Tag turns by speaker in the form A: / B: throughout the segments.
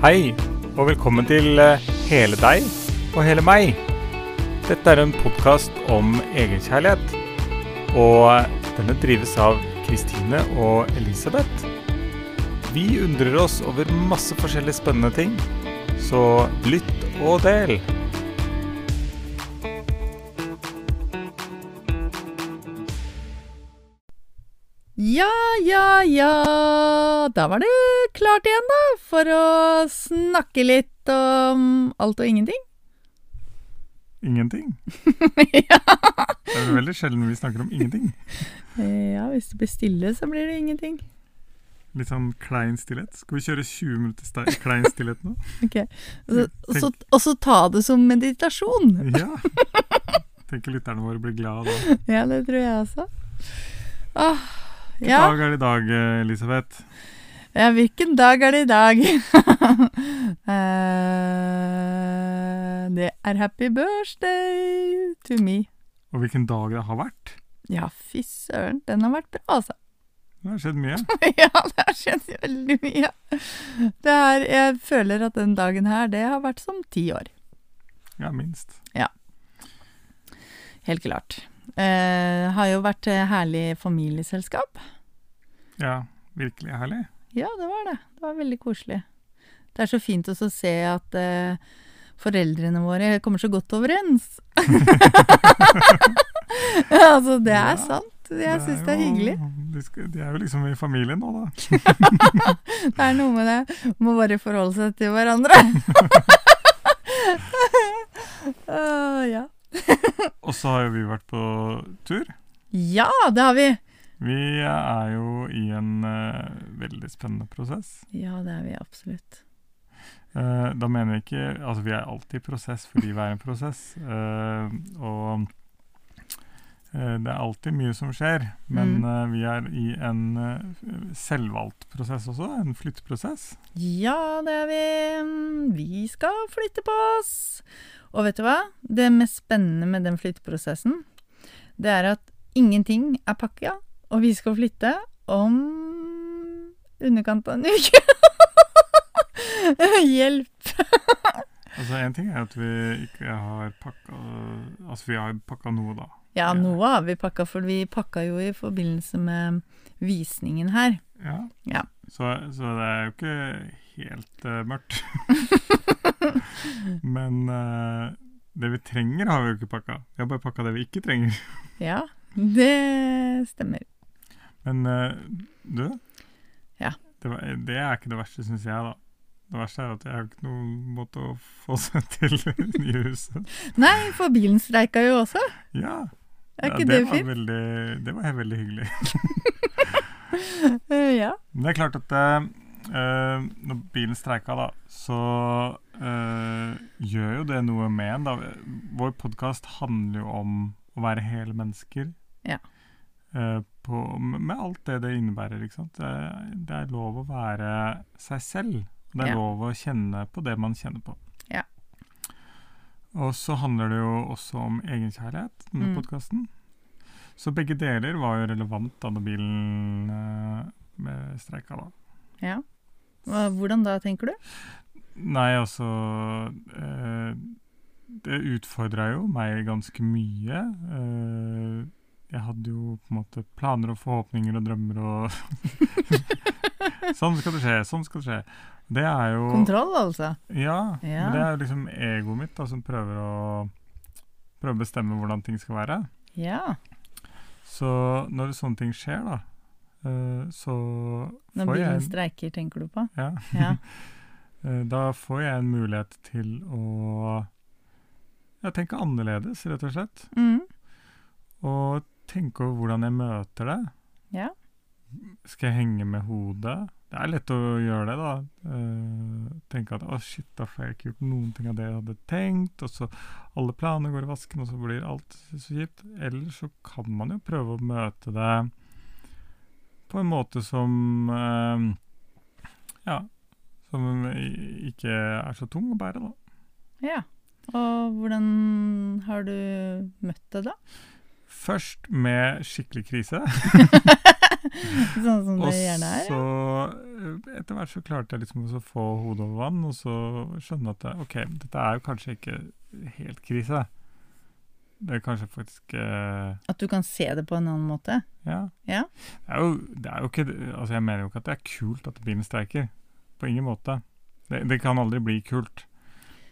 A: Hei, og velkommen til eh, Hele deg og hele meg. Dette er en podkast om egenkjærlighet. Og eh, denne drives av Kristine og Elisabeth. Vi undrer oss over masse forskjellige spennende ting, så lytt og del.
B: Ja, ja, ja. Da var det klart igjen, da. For å snakke litt om alt og ingenting.
A: Ingenting.
B: ja.
A: Det er veldig sjelden vi snakker om ingenting.
B: ja, hvis det blir stille, så blir det ingenting.
A: Litt sånn klein stillhet. Skal vi kjøre 20 minutter sta- klein stillhet nå?
B: Ok. Og så- Og så- og så ta det som meditasjon.
A: Ja. Tenker lytterne våre blir glad da.
B: Ja, det tror jeg også. Åh,
A: Hvilken
B: ja.
A: dag er det i dag, eh, Elisabeth?
B: ja, hvilken dag er det i dag? Eh, det er happy birthday to me.
A: Og hvilken dag det har vært?
B: Ja, fy søren. Den har vært bra, altså.
A: Det har skjedd mye.
B: Ja, det har skjedd veldig mye. Det er, jeg føler at den dagen her, det har vært som ti år.
A: Ja, minst.
B: Helt klart. Eh, har jo vært eh, herlig familieselskap.
A: Ja, virkelig herlig.
B: Ja, det var det. Det var veldig koselig. Det er så fint også å se at eh, foreldrene våre kommer så godt overens. altså, det er
A: Ja,
B: sant. Jeg syns det er
A: jo-
B: hyggelig.
A: De, skal, de er jo liksom i familien nå, da.
B: Det er noe med det. Må bare forholde seg til hverandre. Åh, ja.
A: Og så har jo vi vært på tur.
B: Ja, det har vi!
A: Vi er jo i en eh, veldig spennende prosess.
B: Ja, det er vi absolutt.
A: Eh, da mener jeg ikke Altså, vi er alltid i prosess fordi vi er i en prosess. eh, og eh, det er alltid mye som skjer, men eh, vi er i en eh, selvvalgt prosess også. En flytteprosess.
B: Ja, det er vi. Vi skal flytte på oss. Og vet du hva? Det mest spennende med den flytteprosessen, det er at ingenting er pakka, og vi skal flytte om underkant av en uke. Hjelp!
A: Altså, En ting er at vi ikke har pakka Altså, vi har pakka noe, da.
B: Ja,
A: Ja.
B: noe har vi pakka, for vi pakka jo i forbindelse med visningen her.
A: Ja.
B: Ja.
A: Så, så det er jo ikke helt eh, mørkt. Men eh, det vi trenger, har vi jo ikke pakka. Vi har bare pakka det vi ikke trenger.
B: Ja, det stemmer.
A: Men eh, du
B: Ja.
A: det, var, det er ikke det verste, syns jeg, da. Det verste er at jeg har ikke noen måte å få seg til det nye huset.
B: Nei, for bilen streika jo også.
A: Ja.
B: Er
A: Ja,
B: ikke det
A: var
B: fint?
A: Veldig, det var veldig hyggelig.
B: Eh, Ja.
A: Men det er klart at eh, eh, når bilen streika, da, så eh, gjør jo det noe med en. da. Vår podkast handler jo om å være hele mennesker.
B: Ja.
A: Eh, på, med alt det det innebærer. ikke sant? Det, er- det er lov å være seg selv. og Det er
B: Ja.
A: lov å kjenne på det man kjenner på.
B: Ja.
A: Og så handler det jo også om egenkjærlighet, denne
B: Mm.
A: podkasten. Så begge deler var jo relevant da når bilen eh, med streika, da.
B: ja. Hva- Hvordan da, tenker du?
A: Nei, altså eh, Det utfordra jo meg ganske mye. Eh, jeg hadde jo på en måte planer og forhåpninger og drømmer og Sånn skal det skje, sånn skal det skje. Det er jo
B: Kontroll, altså.
A: Ja.
B: Ja.
A: Men det er jo liksom egoet mitt da, som prøver å prøver å bestemme hvordan ting skal være.
B: Ja.
A: Så når sånne ting skjer, da, eh, så
B: Når
A: får
B: bilen
A: jeg
B: streiker, tenker du på?
A: ja.
B: Ja.
A: Eh, Da får jeg en mulighet til å ja, tenke annerledes, rett og slett.
B: Mm.
A: Og tenke over hvordan jeg møter det.
B: Ja.
A: Skal jeg henge med hodet? Det er lett å gjøre det, da. Eh, tenke at 'å, shit, da får jeg ikke gjort noen ting av det jeg hadde tenkt', og så alle planer går i vasken, og så blir alt så kjipt. Eller så kan man jo prøve å møte det på en måte som eh, Ja, som i- ikke er så tung å bære, da.
B: ja. Og hvordan har du møtt det, da?
A: Først med skikkelig krise.
B: Sånn som
A: Og
B: det gjerne er?
A: så eh, etter hvert så klarte jeg liksom også å få hodet over vann, og så skjønne at det, ok, dette er jo kanskje ikke helt krise. Det er kanskje faktisk eh,
B: At du kan se det på en annen måte.
A: ja.
B: Ja.
A: Det er jo, det er jo ikke Altså, jeg mener jo ikke at det er kult at bilen streiker. På ingen måte. Det, det kan aldri bli kult.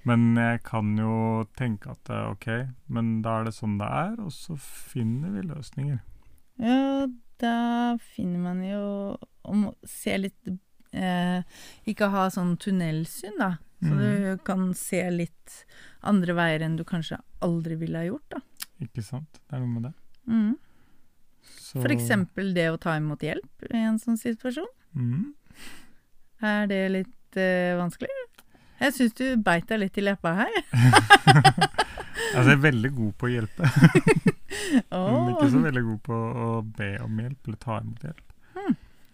A: Men jeg kan jo tenke at eh, ok, men da er det sånn det er, og så finner vi løsninger.
B: Ja, da finner man jo om å se litt eh, Ikke ha sånn tunnelsyn, da. Så
A: Mm.
B: du kan se litt andre veier enn du kanskje aldri ville ha gjort, da.
A: Ikke sant? Det er noe med det.
B: Mm.
A: Så,
B: For eksempel det å ta imot hjelp i en sånn situasjon.
A: Mhm.
B: Er det litt eh, vanskelig? Jeg syns du beit deg litt i leppa her.
A: Altså, jeg er veldig god på å hjelpe, men Mm, ikke så
B: Åh.
A: veldig god på å be om hjelp eller ta imot hjelp.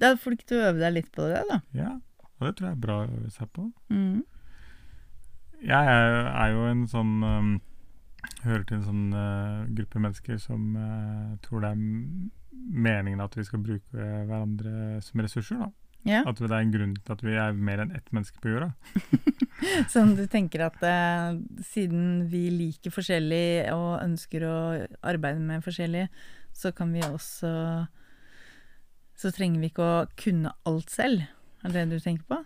B: Da får du ikke til å øve deg litt på det, da.
A: Ja, og det tror jeg er bra å øve seg på.
B: Mm.
A: Jeg er, er jo en sånn um, Hører til en sånn eh, gruppe mennesker som eh, tror det er m- meningen at vi skal bruke hverandre som ressurser. da.
B: Ja.
A: At det er en grunn til at vi er mer enn ett menneske på jorda.
B: Som du tenker at eh, siden vi liker forskjellig og ønsker å arbeide med forskjellig, så kan vi også Så trenger vi ikke å kunne alt selv. Er det det du tenker på?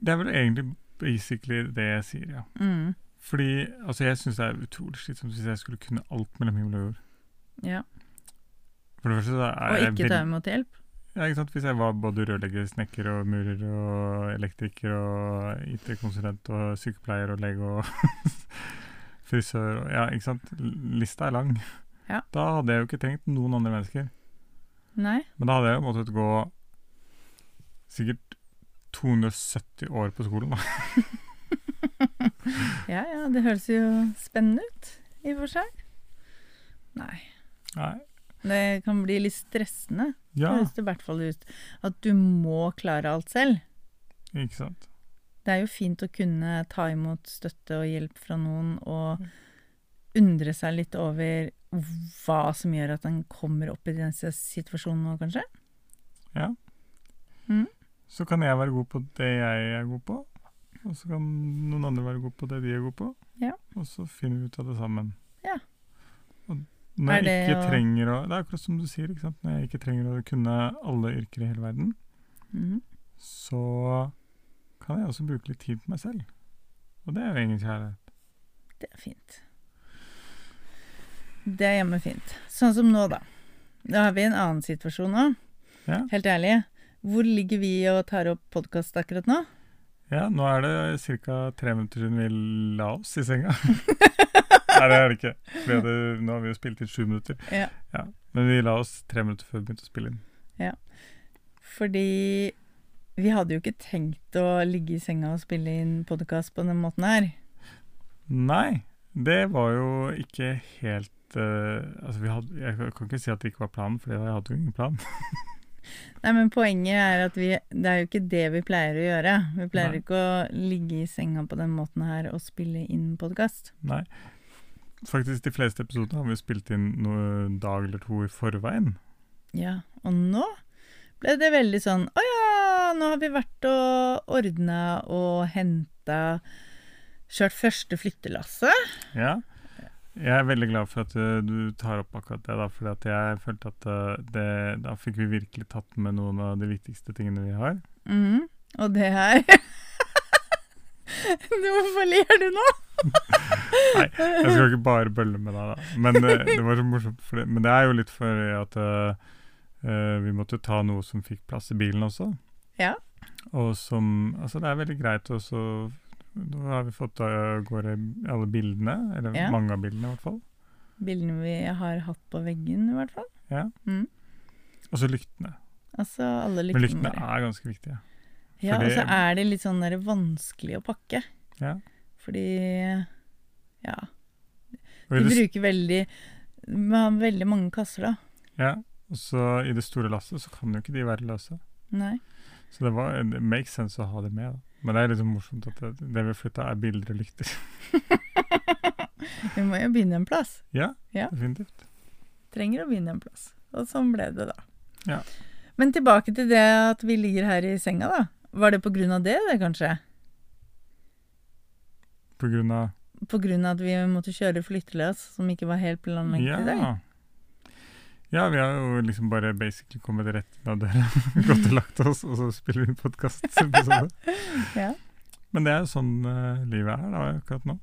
A: Det er vel egentlig basically det jeg sier, ja.
B: Mm.
A: Fordi altså, jeg syns det er utrolig slitsomt hvis jeg skulle kunne alt mellom himmel og jord.
B: Ja.
A: For det første så er
B: Og
A: jeg
B: ikke ta
A: veld-
B: imot hjelp.
A: ja, ikke sant? Hvis jeg var både rørlegger, snekker og murer og elektriker og IT-konsulent og sykepleier og lege og frisør og Ja, ikke sant? L- Lista er lang.
B: Ja.
A: Da hadde jeg jo ikke trengt noen andre mennesker.
B: Nei.
A: Men da hadde jeg jo måttet gå sikkert 270 år på skolen, da.
B: Ja ja, det høres jo spennende ut i og for seg. Nei.
A: Nei.
B: Det kan bli litt stressende,
A: Ja,
B: høres det i hvert fall ut. At du må klare alt selv.
A: ikke sant.
B: Det er jo fint å kunne ta imot støtte og hjelp fra noen, og undre seg litt over hva som gjør at en kommer opp i den si- situasjonen nå, kanskje.
A: Så kan jeg være god på det jeg er god på, og så kan noen andre være god på det de er god på.
B: Ja.
A: Og så finner vi ut av det sammen.
B: Ja.
A: Og når
B: Er
A: jeg
B: det
A: ikke
B: å-
A: trenger å Det er akkurat som du sier, ikke sant? når jeg ikke trenger å kunne alle yrker i hele verden,
B: Mhm.
A: så kan jeg også bruke litt tid på meg selv. Og det er jo egentlig kjærlighet.
B: Det er fint. Det er jammen fint. Sånn som nå, da. Da har vi en annen situasjon nå.
A: Ja.
B: Helt ærlig, hvor ligger vi og tar opp podkast akkurat nå?
A: Ja, nå er det ca. tre minutter siden vi la oss i senga. Nei, det er det ikke. Vi hadde, nå har vi jo spilt inn sju minutter.
B: Ja.
A: Men vi la oss tre minutter før vi begynte å spille inn.
B: Fordi vi hadde jo ikke tenkt å ligge i senga og spille inn podkast på den måten her.
A: Nei, det var jo ikke helt eh, altså vi hadde, Jeg kan ikke si at det ikke var planen, for jeg hadde jo ingen plan.
B: Nei, men poenget er at vi, det er jo ikke det vi pleier å gjøre. Vi pleier
A: Nei.
B: ikke å ligge i senga på den måten her og spille inn podkast.
A: Nei. Faktisk de fleste episodene har vi jo spilt inn noen dag eller to i forveien.
B: Ja, og nå ble det veldig sånn Å ja, nå har vi vært og ordna og henta Kjørt første flyttelasset.
A: Ja. Jeg er veldig glad for at eh, du tar opp akkurat det, da, fordi at jeg følte at eh, det, da fikk vi virkelig tatt med noen av de viktigste tingene vi har.
B: Mhm. Og det her Hvorfor ler du nå?
A: Jeg skal ikke bare bølle med deg, da. Men eh, det var så morsomt. For det. Men det er jo litt fordi at eh, eh, vi måtte ta noe som fikk plass i bilen også.
B: Ja.
A: Og som Altså, det er veldig greit også Nå har vi fått eh, av gårde alle bildene, eller
B: Ja.
A: mange av bildene i hvert fall.
B: Bildene vi har hatt på veggen, i hvert fall.
A: Og så lyktene.
B: Altså alle
A: Men
B: lyktene
A: lyktene
B: våre.
A: er ganske viktige.
B: Ja,
A: Fordi-
B: og så er det litt sånn der vanskelig å pakke.
A: Ja.
B: Fordi ja.
A: Og
B: Vi
A: i det,
B: bruker veldig Vi har veldig mange kasser, da.
A: s- ja, og så i det store lasset så kan jo ikke de være løse.
B: Nei.
A: Så det, var, det makes sense å ha det med. da. Men det er liksom morsomt at det, det vi flytta, er bilder og lykter.
B: Vi må jo begynne en plass.
A: Ja,
B: Ja.
A: definitivt.
B: Trenger å begynne en plass. Og sånn ble det, da.
A: Ja.
B: Men tilbake til det at vi ligger her i senga, da. Var det på grunn av det, det, kanskje?
A: På grunn av
B: På grunn av at vi måtte kjøre flytteløs, som ikke var helt planlagt i dag?
A: Ja. Ja, vi har jo liksom bare basically kommet rett inn av døra, gått og lagt oss, og så spiller vi podkastepisode.
B: Ja.
A: Men det er jo sånn eh, livet er da, akkurat nå.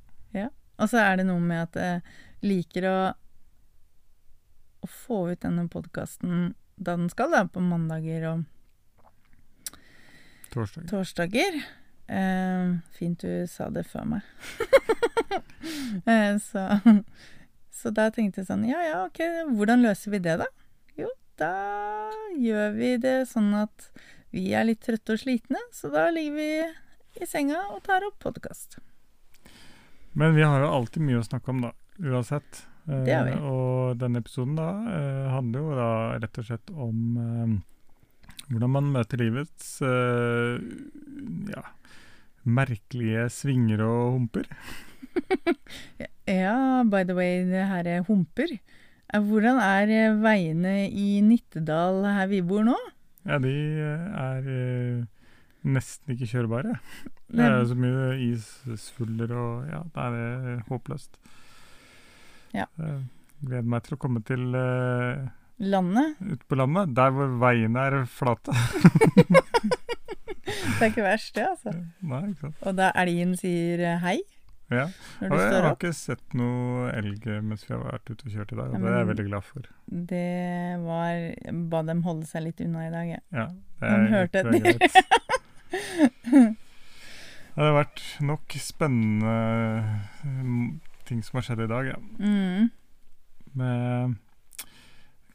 B: Og så er det noe med at jeg liker å, å få ut denne podkasten da den skal, da, på mandager og
A: Torsdag.
B: torsdager. Eh, fint du sa det før meg. eh, så, så da tenkte jeg sånn Ja, ja, ok, hvordan løser vi det, da? Jo, da gjør vi det sånn at vi er litt trøtte og slitne, så da ligger vi i senga og tar opp podkast.
A: Men vi har jo alltid mye å snakke om, da. Uansett. Eh,
B: Det har vi.
A: Og denne episoden da eh, handler jo da rett og slett om eh, hvordan man møter livets eh, ja, merkelige svinger og humper.
B: Ja, by the way, det her er humper. Eh, Hvordan er eh, veiene i Nittedal her vi bor nå?
A: Ja, de eh, er eh, nesten ikke kjørbare. Det
B: Nei.
A: er altså- jo så mye isfuller og Ja, det er eh, håpløst.
B: Ja.
A: Eh, Gleder meg til å komme til eh,
B: Landet?
A: ut på landet, der hvor veiene er flate.
B: Det er ikke verst, det, altså.
A: Nei, ikke sant.
B: Og da elgen sier eh, hei
A: Ja.
B: når
A: Og
B: du
A: jeg
B: står
A: har
B: opp.
A: ikke sett noe elg mens vi har vært ute og kjørt i
B: Ja,
A: dag, og det er jeg
B: men-
A: veldig glad for.
B: Det var jeg Ba dem holde seg litt unna i dag, jeg.
A: Ja, det
B: Han
A: er-
B: hørte
A: tror jeg er greit. Det har vært nok spennende eh, ting som har skjedd i dag, ja.
B: Mm.
A: med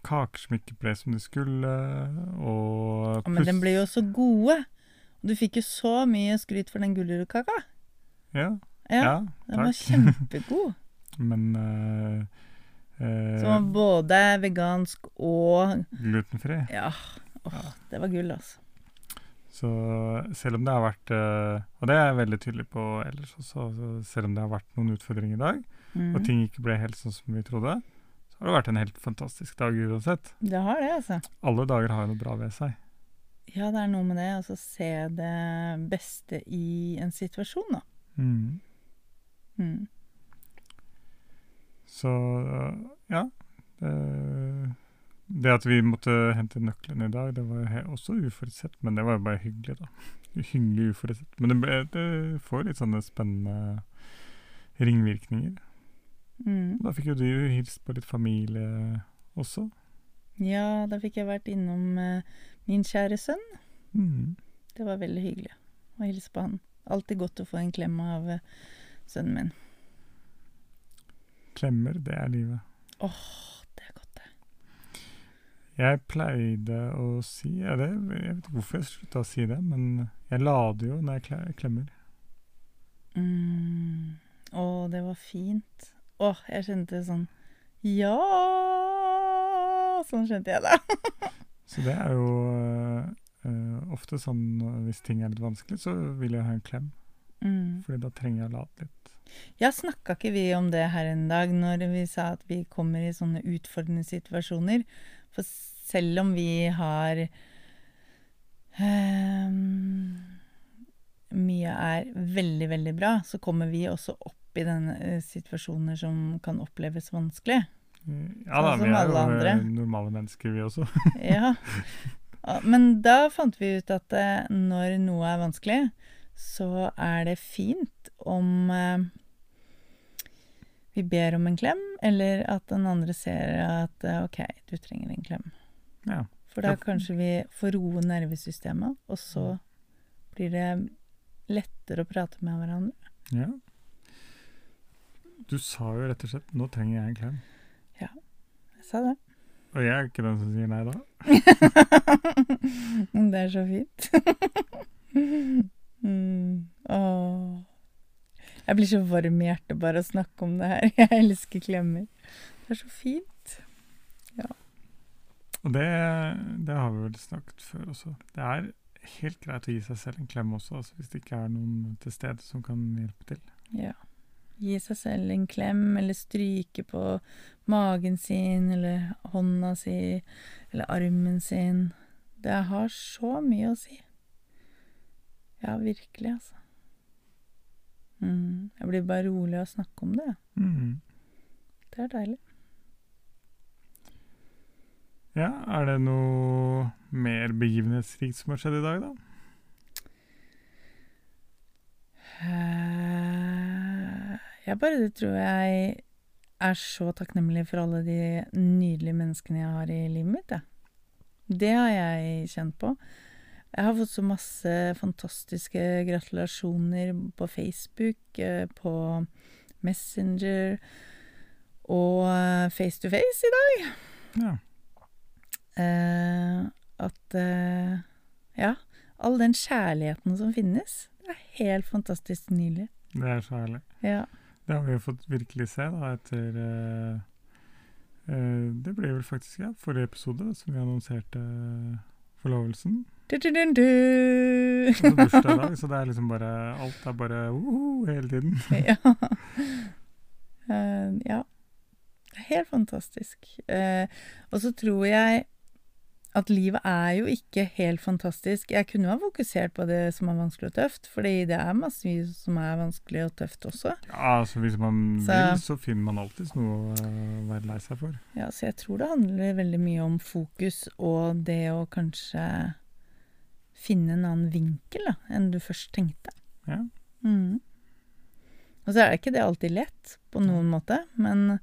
A: kaker som ikke ble som de skulle, og
B: Ja, Men de
A: pust-
B: ble jo så gode. Du fikk jo så mye skryt for den gulrotkaka.
A: ja, ja,
B: Ja, den var
A: takk.
B: kjempegod.
A: Men eh, eh,
B: Som var både vegansk og
A: glutenfri.
B: Ja, åh, det var gull, altså.
A: Så selv om det har vært eh, Og det er jeg veldig tydelig på ellers også, så selv om det har vært noen utfordringer i dag, og
B: Mm.
A: ting ikke ble helt sånn som vi trodde, så har det vært en helt fantastisk dag uansett.
B: Det har det, altså.
A: Alle dager har jo noe bra ved seg.
B: Ja, det er noe med det. Altså se det beste i en situasjon, da.
A: Mm.
B: Mm.
A: Så eh, ja. Det, det at vi måtte hente nøklene i dag, det var jo he- også uforutsett, men det var jo bare hyggelig, da. Hyggelig uforutsett. Men det, ble, det får litt sånne spennende ringvirkninger.
B: Mm.
A: Da fikk jo du hilst på litt familie også.
B: Ja, da fikk jeg vært innom eh, min kjære sønn.
A: Mm.
B: Det var veldig hyggelig å hilse på han. Alltid godt å få en klem av eh, sønnen min.
A: Klemmer, det er livet.
B: Det er godt, det.
A: Jeg pleide å si ja, det, Jeg vet ikke hvorfor jeg slutta å si det, men jeg lader jo når jeg kle- klemmer.
B: Mm. Å, det var fint. Å, jeg kjente sånn Ja! Sånn kjente jeg det.
A: Så det er jo eh, ofte sånn eh, hvis ting er litt vanskelig, så vil jeg ha en klem.
B: Mm.
A: Fordi da trenger jeg å late litt.
B: Ja, snakka ikke vi om det her en dag, når vi sa at vi kommer i sånne utfordrende situasjoner? For selv om vi har ehm, Mye er veldig, veldig bra, så kommer vi også opp i denne eh, situasjoner som kan oppleves vanskelig.
A: Eh,
B: Sånn
A: Ja da,
B: som
A: vi er jo
B: alle
A: eh,
B: andre.
A: normale mennesker, vi også.
B: Ja. Ja, Men da fant vi ut at eh, når noe er vanskelig, så er det fint om eh, vi ber om en klem, eller at den andre ser at eh, OK, du trenger en klem.
A: Ja.
B: For da
A: Ja. Mm.
B: kanskje vi får roe nervesystemet, og så blir det lettere å prate med hverandre.
A: ja. Du sa jo rett og slett 'nå trenger jeg en klem'.
B: Jeg sa det.
A: Og jeg er ikke den som sier nei da.
B: det er så fint. mm. Åh. Jeg blir så varm i hjertet bare å snakke om det her. Jeg elsker klemmer. Det er så fint.
A: Og det, det har vi vel snakket før også. Det er helt greit å gi seg selv en klem også, altså hvis det ikke er noen til stede som kan hjelpe til.
B: Ja. Gi seg selv en klem, eller stryke på magen sin, eller hånda si, eller armen sin. Det har så mye å si. Ja, virkelig, altså. Mm. Jeg blir bare rolig av å snakke om det. jeg.
A: Mm.
B: Det er deilig.
A: Ja, er det noe mer begivenhetsrikt som har skjedd i dag, da?
B: Eh, Jeg bare tror jeg er så takknemlig for alle de nydelige menneskene jeg har i livet mitt. jeg. Det har jeg kjent på. Jeg har fått så masse fantastiske gratulasjoner på Facebook, eh, på Messenger og eh, face to face i dag.
A: Ja.
B: Eh, at eh, Ja, all den kjærligheten som finnes, det er helt fantastisk nydelig.
A: Det er så herlig.
B: Ja.
A: Det har vi jo fått virkelig se da, etter eh, eh, Det ble vel faktisk ja, forrige episode som vi annonserte eh, forlovelsen.
B: Du, du, du, du.
A: Og så bursdag i dag, så det er liksom bare Alt er bare uhu, hele tiden.
B: ja. Eh, ja. Det er helt fantastisk. Eh, og så tror jeg at livet er jo ikke helt fantastisk. Jeg kunne ha fokusert på det som er vanskelig og tøft, fordi det er masse som er vanskelig og tøft også.
A: Ja, altså Hvis man
B: Så-
A: vil, så finner man alltids noe å eh, være lei seg for.
B: Ja, så jeg tror det handler veldig mye om fokus og det å kanskje finne en annen vinkel da, enn du først tenkte.
A: Ja.
B: Mhm. Og så er det ikke det alltid lett på noen måte, men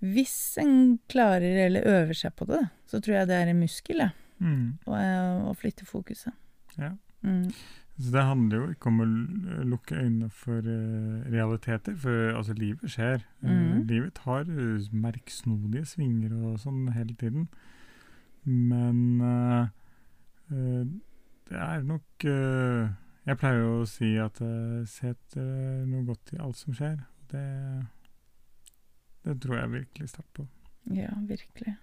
B: hvis en klarer eller øver seg på det, da, så tror jeg det er en muskel ja,
A: Mm.
B: å, eh, å flytte fokuset.
A: Ja.
B: Mhm.
A: Så det handler jo ikke om å l- lukke øynene for eh, realiteter, for altså, livet skjer. Eh,
B: Mhm.
A: livet tar eh, merksnodige svinger og sånn hele tiden. Men eh, eh, det er nok eh, Jeg pleier jo å si at uh, se etter noe godt i alt som skjer. Det, det tror jeg virkelig sterkt på.
B: Ja, virkelig.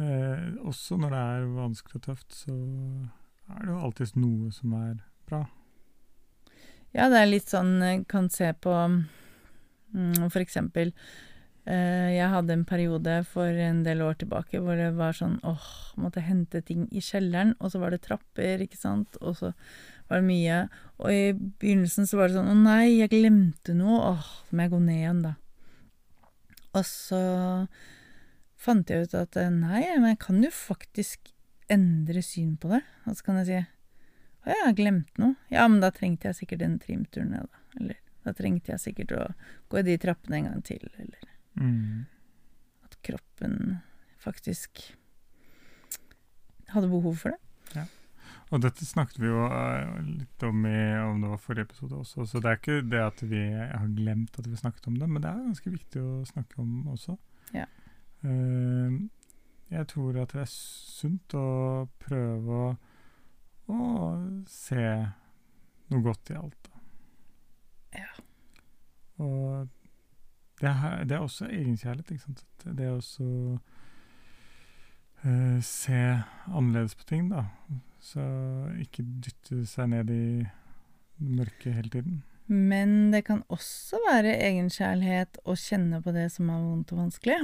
A: Det, er- også når det er vanskelig og tøft, så er det jo alltid noe som er bra.
B: Ja, det er litt sånn eh, Kan se på mm, For eksempel eh, Jeg hadde en periode for en del år tilbake hvor det var sånn åh, måtte hente ting i kjelleren, og så var det trapper, ikke sant, og så var det mye. Og i begynnelsen så var det sånn å nei, jeg glemte noe, åh, så må jeg gå ned igjen, da. Og så fant jeg ut at eh, nei, men jeg kan jo faktisk endre syn på det. Og så kan jeg si å, jeg har glemt noe. Ja, men da trengte jeg sikkert den trimturen, jeg, da. Eller da trengte jeg sikkert å gå i de trappene en gang til. Eller
A: Mm.
B: at kroppen faktisk hadde behov for det.
A: Og dette snakket vi jo eh, litt om i om det var forrige episode også, så det er ikke det at vi har glemt at vi snakket om det, men det er ganske viktig å snakke om også.
B: Ja.
A: Eh, jeg tror at det er sunt å prøve å, å se noe godt i alt. Da.
B: Ja.
A: Og det er, det er også egenkjærlighet, ikke sant? At Det er også eh, se annerledes på ting, da. Så ikke dytte seg ned i mørket hele tiden.
B: Men det kan også være egenkjærlighet å kjenne på det som er vondt og vanskelig.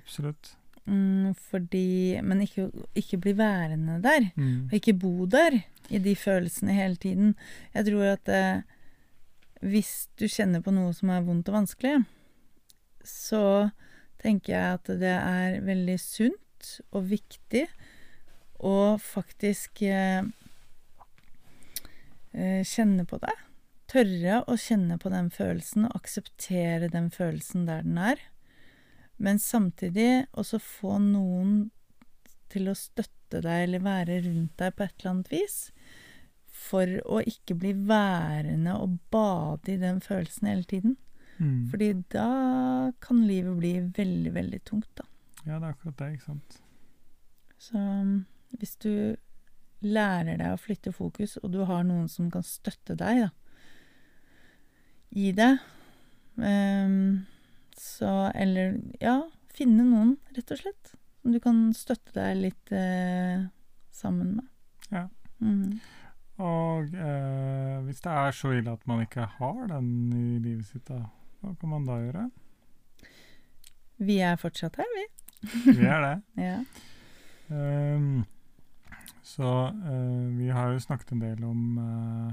A: Absolutt.
B: Mm, fordi Men ikke, ikke bli værende der.
A: Mm.
B: Og ikke bo der i de følelsene hele tiden. Jeg tror at eh, hvis du kjenner på noe som er vondt og vanskelig, så tenker jeg at det er veldig sunt og viktig å faktisk eh, eh, kjenne på det. Tørre å kjenne på den følelsen og akseptere den følelsen der den er. Men samtidig også få noen til å støtte deg eller være rundt deg på et eller annet vis. For å ikke bli værende og bade i den følelsen hele tiden.
A: Mm.
B: Fordi da kan livet bli veldig, veldig tungt, da.
A: Ja, det er akkurat det, ikke sant.
B: Så um, hvis du lærer deg å flytte fokus, og du har noen som kan støtte deg da, i det um, Så Eller ja, finne noen, rett og slett, som du kan støtte deg litt eh, sammen med.
A: Ja.
B: Mhm.
A: Og eh, hvis det er så ille at man ikke har den i livet sitt, da, hva kan man da gjøre?
B: Vi er fortsatt her, vi.
A: Vi er det.
B: Ja.
A: Ehm, Så eh, vi har jo snakket en del om eh,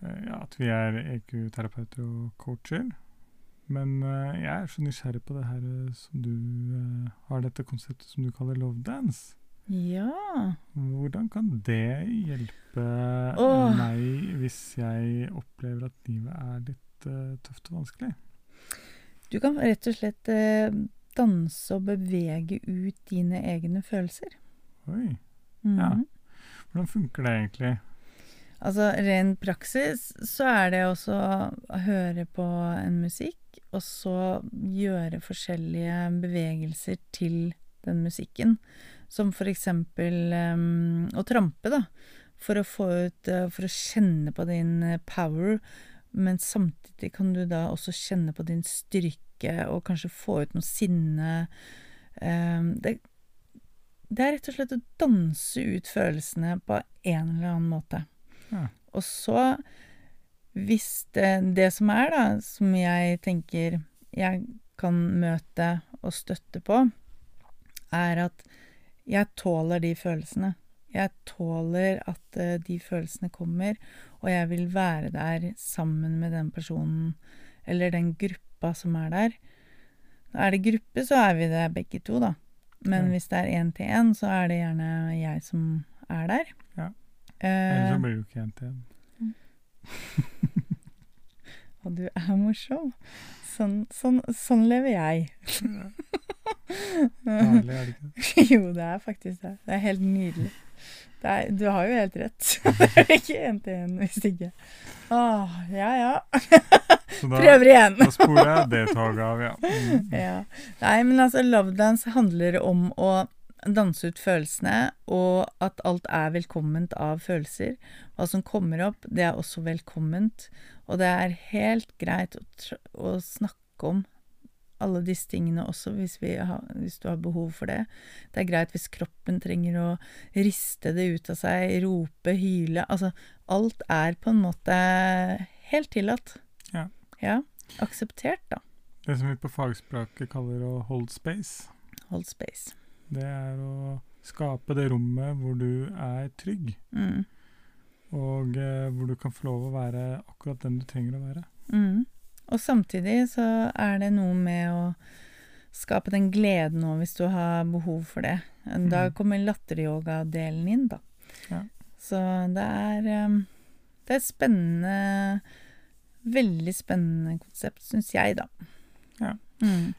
A: eh, ja, at vi er EQ-terapeuter og coacher. Men eh, jeg er så nysgjerrig på det her eh, som du eh, har dette konseptet som du kaller love dance.
B: Ja.
A: Hvordan kan det hjelpe
B: Åh.
A: meg hvis jeg opplever at livet er litt eh, tøft og vanskelig?
B: Du kan rett og slett eh, danse og bevege ut dine egne følelser.
A: Oi,
B: Mhm.
A: Ja. hvordan funker det egentlig?
B: Altså, ren praksis så er det også å høre på en musikk, og så gjøre forskjellige bevegelser til den musikken. Som for eksempel em, å trampe, da. For å få ut eh, For å kjenne på din eh, power, men samtidig kan du da også kjenne på din styrke, og kanskje få ut noe sinne. Em, det, det er rett og slett å danse ut følelsene på en eller annen måte.
A: Ja.
B: Og så, hvis det, det som er, da, som jeg tenker jeg kan møte og støtte på, er at jeg tåler de følelsene. Jeg tåler at eh, de følelsene kommer, og jeg vil være der sammen med den personen eller den gruppa som er der. Er det gruppe, så er vi det begge to, da. Men
A: Ja.
B: hvis det er én til én, så er det gjerne jeg som er der.
A: Ja.
B: Eh,
A: Ellers så blir det jo ikke en til en.
B: Og du er morsom. Sånn, sånn, sånn lever jeg.
A: Herlig, er det ikke?
B: jo, det er faktisk det. Det er helt nydelig. Det er, du har jo helt rett. Det er ikke én til én hvis ikke. Åh, ja ja.
A: Så da,
B: Prøver igjen.
A: da sporer jeg det toget av, ja. Mm.
B: Ja. Nei, men altså, lovedance handler om å danse ut følelsene, og at alt er velkomment av følelser. Hva som kommer opp, det er også velkomment. Og det er helt greit å, tr å snakke om alle disse tingene også, hvis, vi har, hvis du har behov for det. Det er greit hvis kroppen trenger å riste det ut av seg, rope, hyle. Altså, alt er på en måte helt tillatt.
A: Ja.
B: ja. Akseptert, da.
A: Det som vi på fagspråket kaller å hold space,
B: Hold space.
A: det er å skape det rommet hvor du er trygg,
B: Mm.
A: og eh, hvor du kan få lov å være akkurat den du trenger å være.
B: Mm. Og samtidig så er det noe med å skape den gleden òg, hvis du har behov for det. Da
A: Mhm.
B: kommer latteryoga-delen inn, da.
A: Ja.
B: Så det er um, Det er et spennende Veldig spennende konsept, syns jeg, da.
A: Ja.
B: Mm.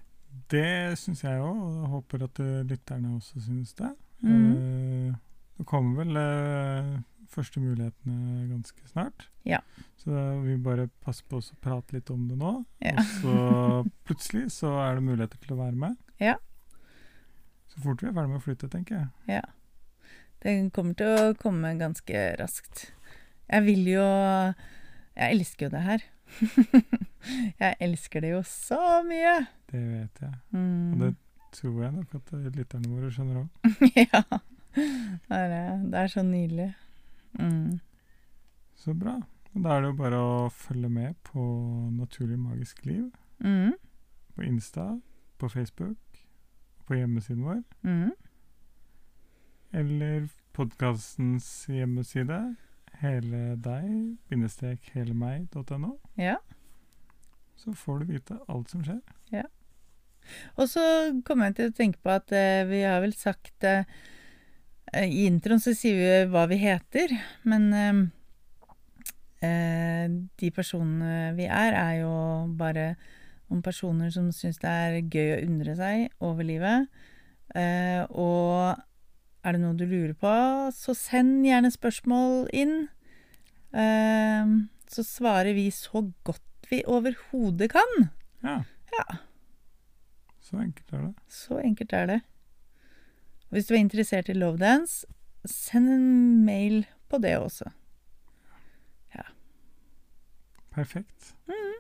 A: Det syns jeg òg, og jeg håper at eh, lytterne også syns det.
B: Mm.
A: Eh, Det kommer vel eh, første mulighetene ganske snart.
B: Ja.
A: Så da vi bare passer på oss å prate litt om det nå.
B: Ja.
A: Og så plutselig så er det muligheter til å være med.
B: Ja.
A: Så fort vi er ferdig med å flytte, tenker jeg.
B: Det kommer til å komme ganske raskt. Jeg vil jo Jeg elsker jo det her. jeg elsker det jo så mye.
A: Det vet jeg.
B: Mm.
A: Og det tror jeg nok at eh, lytterne våre skjønner òg.
B: ja. Det er, eh, det. det er så nydelig. Mm.
A: Så bra. Og da er det jo bare å følge med på Naturlig magisk liv
B: Mm.
A: på Insta, på Facebook, på hjemmesiden vår.
B: Mm.
A: eller podkastens hjemmeside. Hele deg, bindestrek hele meg.no.
B: Ja.
A: Så får du vite alt som skjer.
B: Og så kom jeg til å tenke på at eh, vi har vel sagt eh, I introen så sier vi hva vi heter, men eh, eh, de personene vi er, er jo bare om personer som syns det er gøy å undre seg over livet. Eh, og er det noe du lurer på, så send gjerne spørsmål inn. Eh, så svarer vi så godt vi overhodet kan.
A: Ja.
B: Ja.
A: Så enkelt er det.
B: Så enkelt er det. Og hvis du er interessert i love dance, send en mail på det også.
A: Perfekt.
B: Mm-hmm.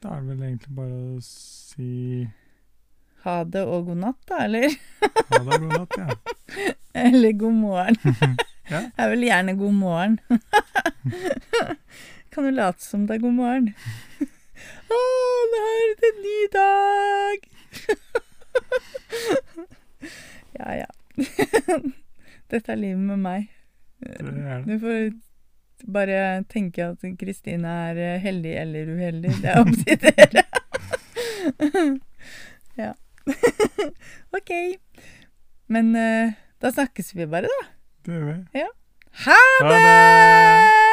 A: Da er det vel egentlig bare å si
B: Ha det og god natt, da, eller?
A: ha det og god natt, ja.
B: Eller god morgen.
A: Ja.
B: Det er vel gjerne god morgen. kan du late som det er god morgen? Å, nå er det en ny dag! ja, ja. Dette er livet med meg.
A: Det er det.
B: Du får bare tenke at Kristine er eh, heldig eller uheldig. Det er opp til dere. ja. ok. Men eh, da snakkes vi bare, da.
A: Det gjør vi.
B: Ha det!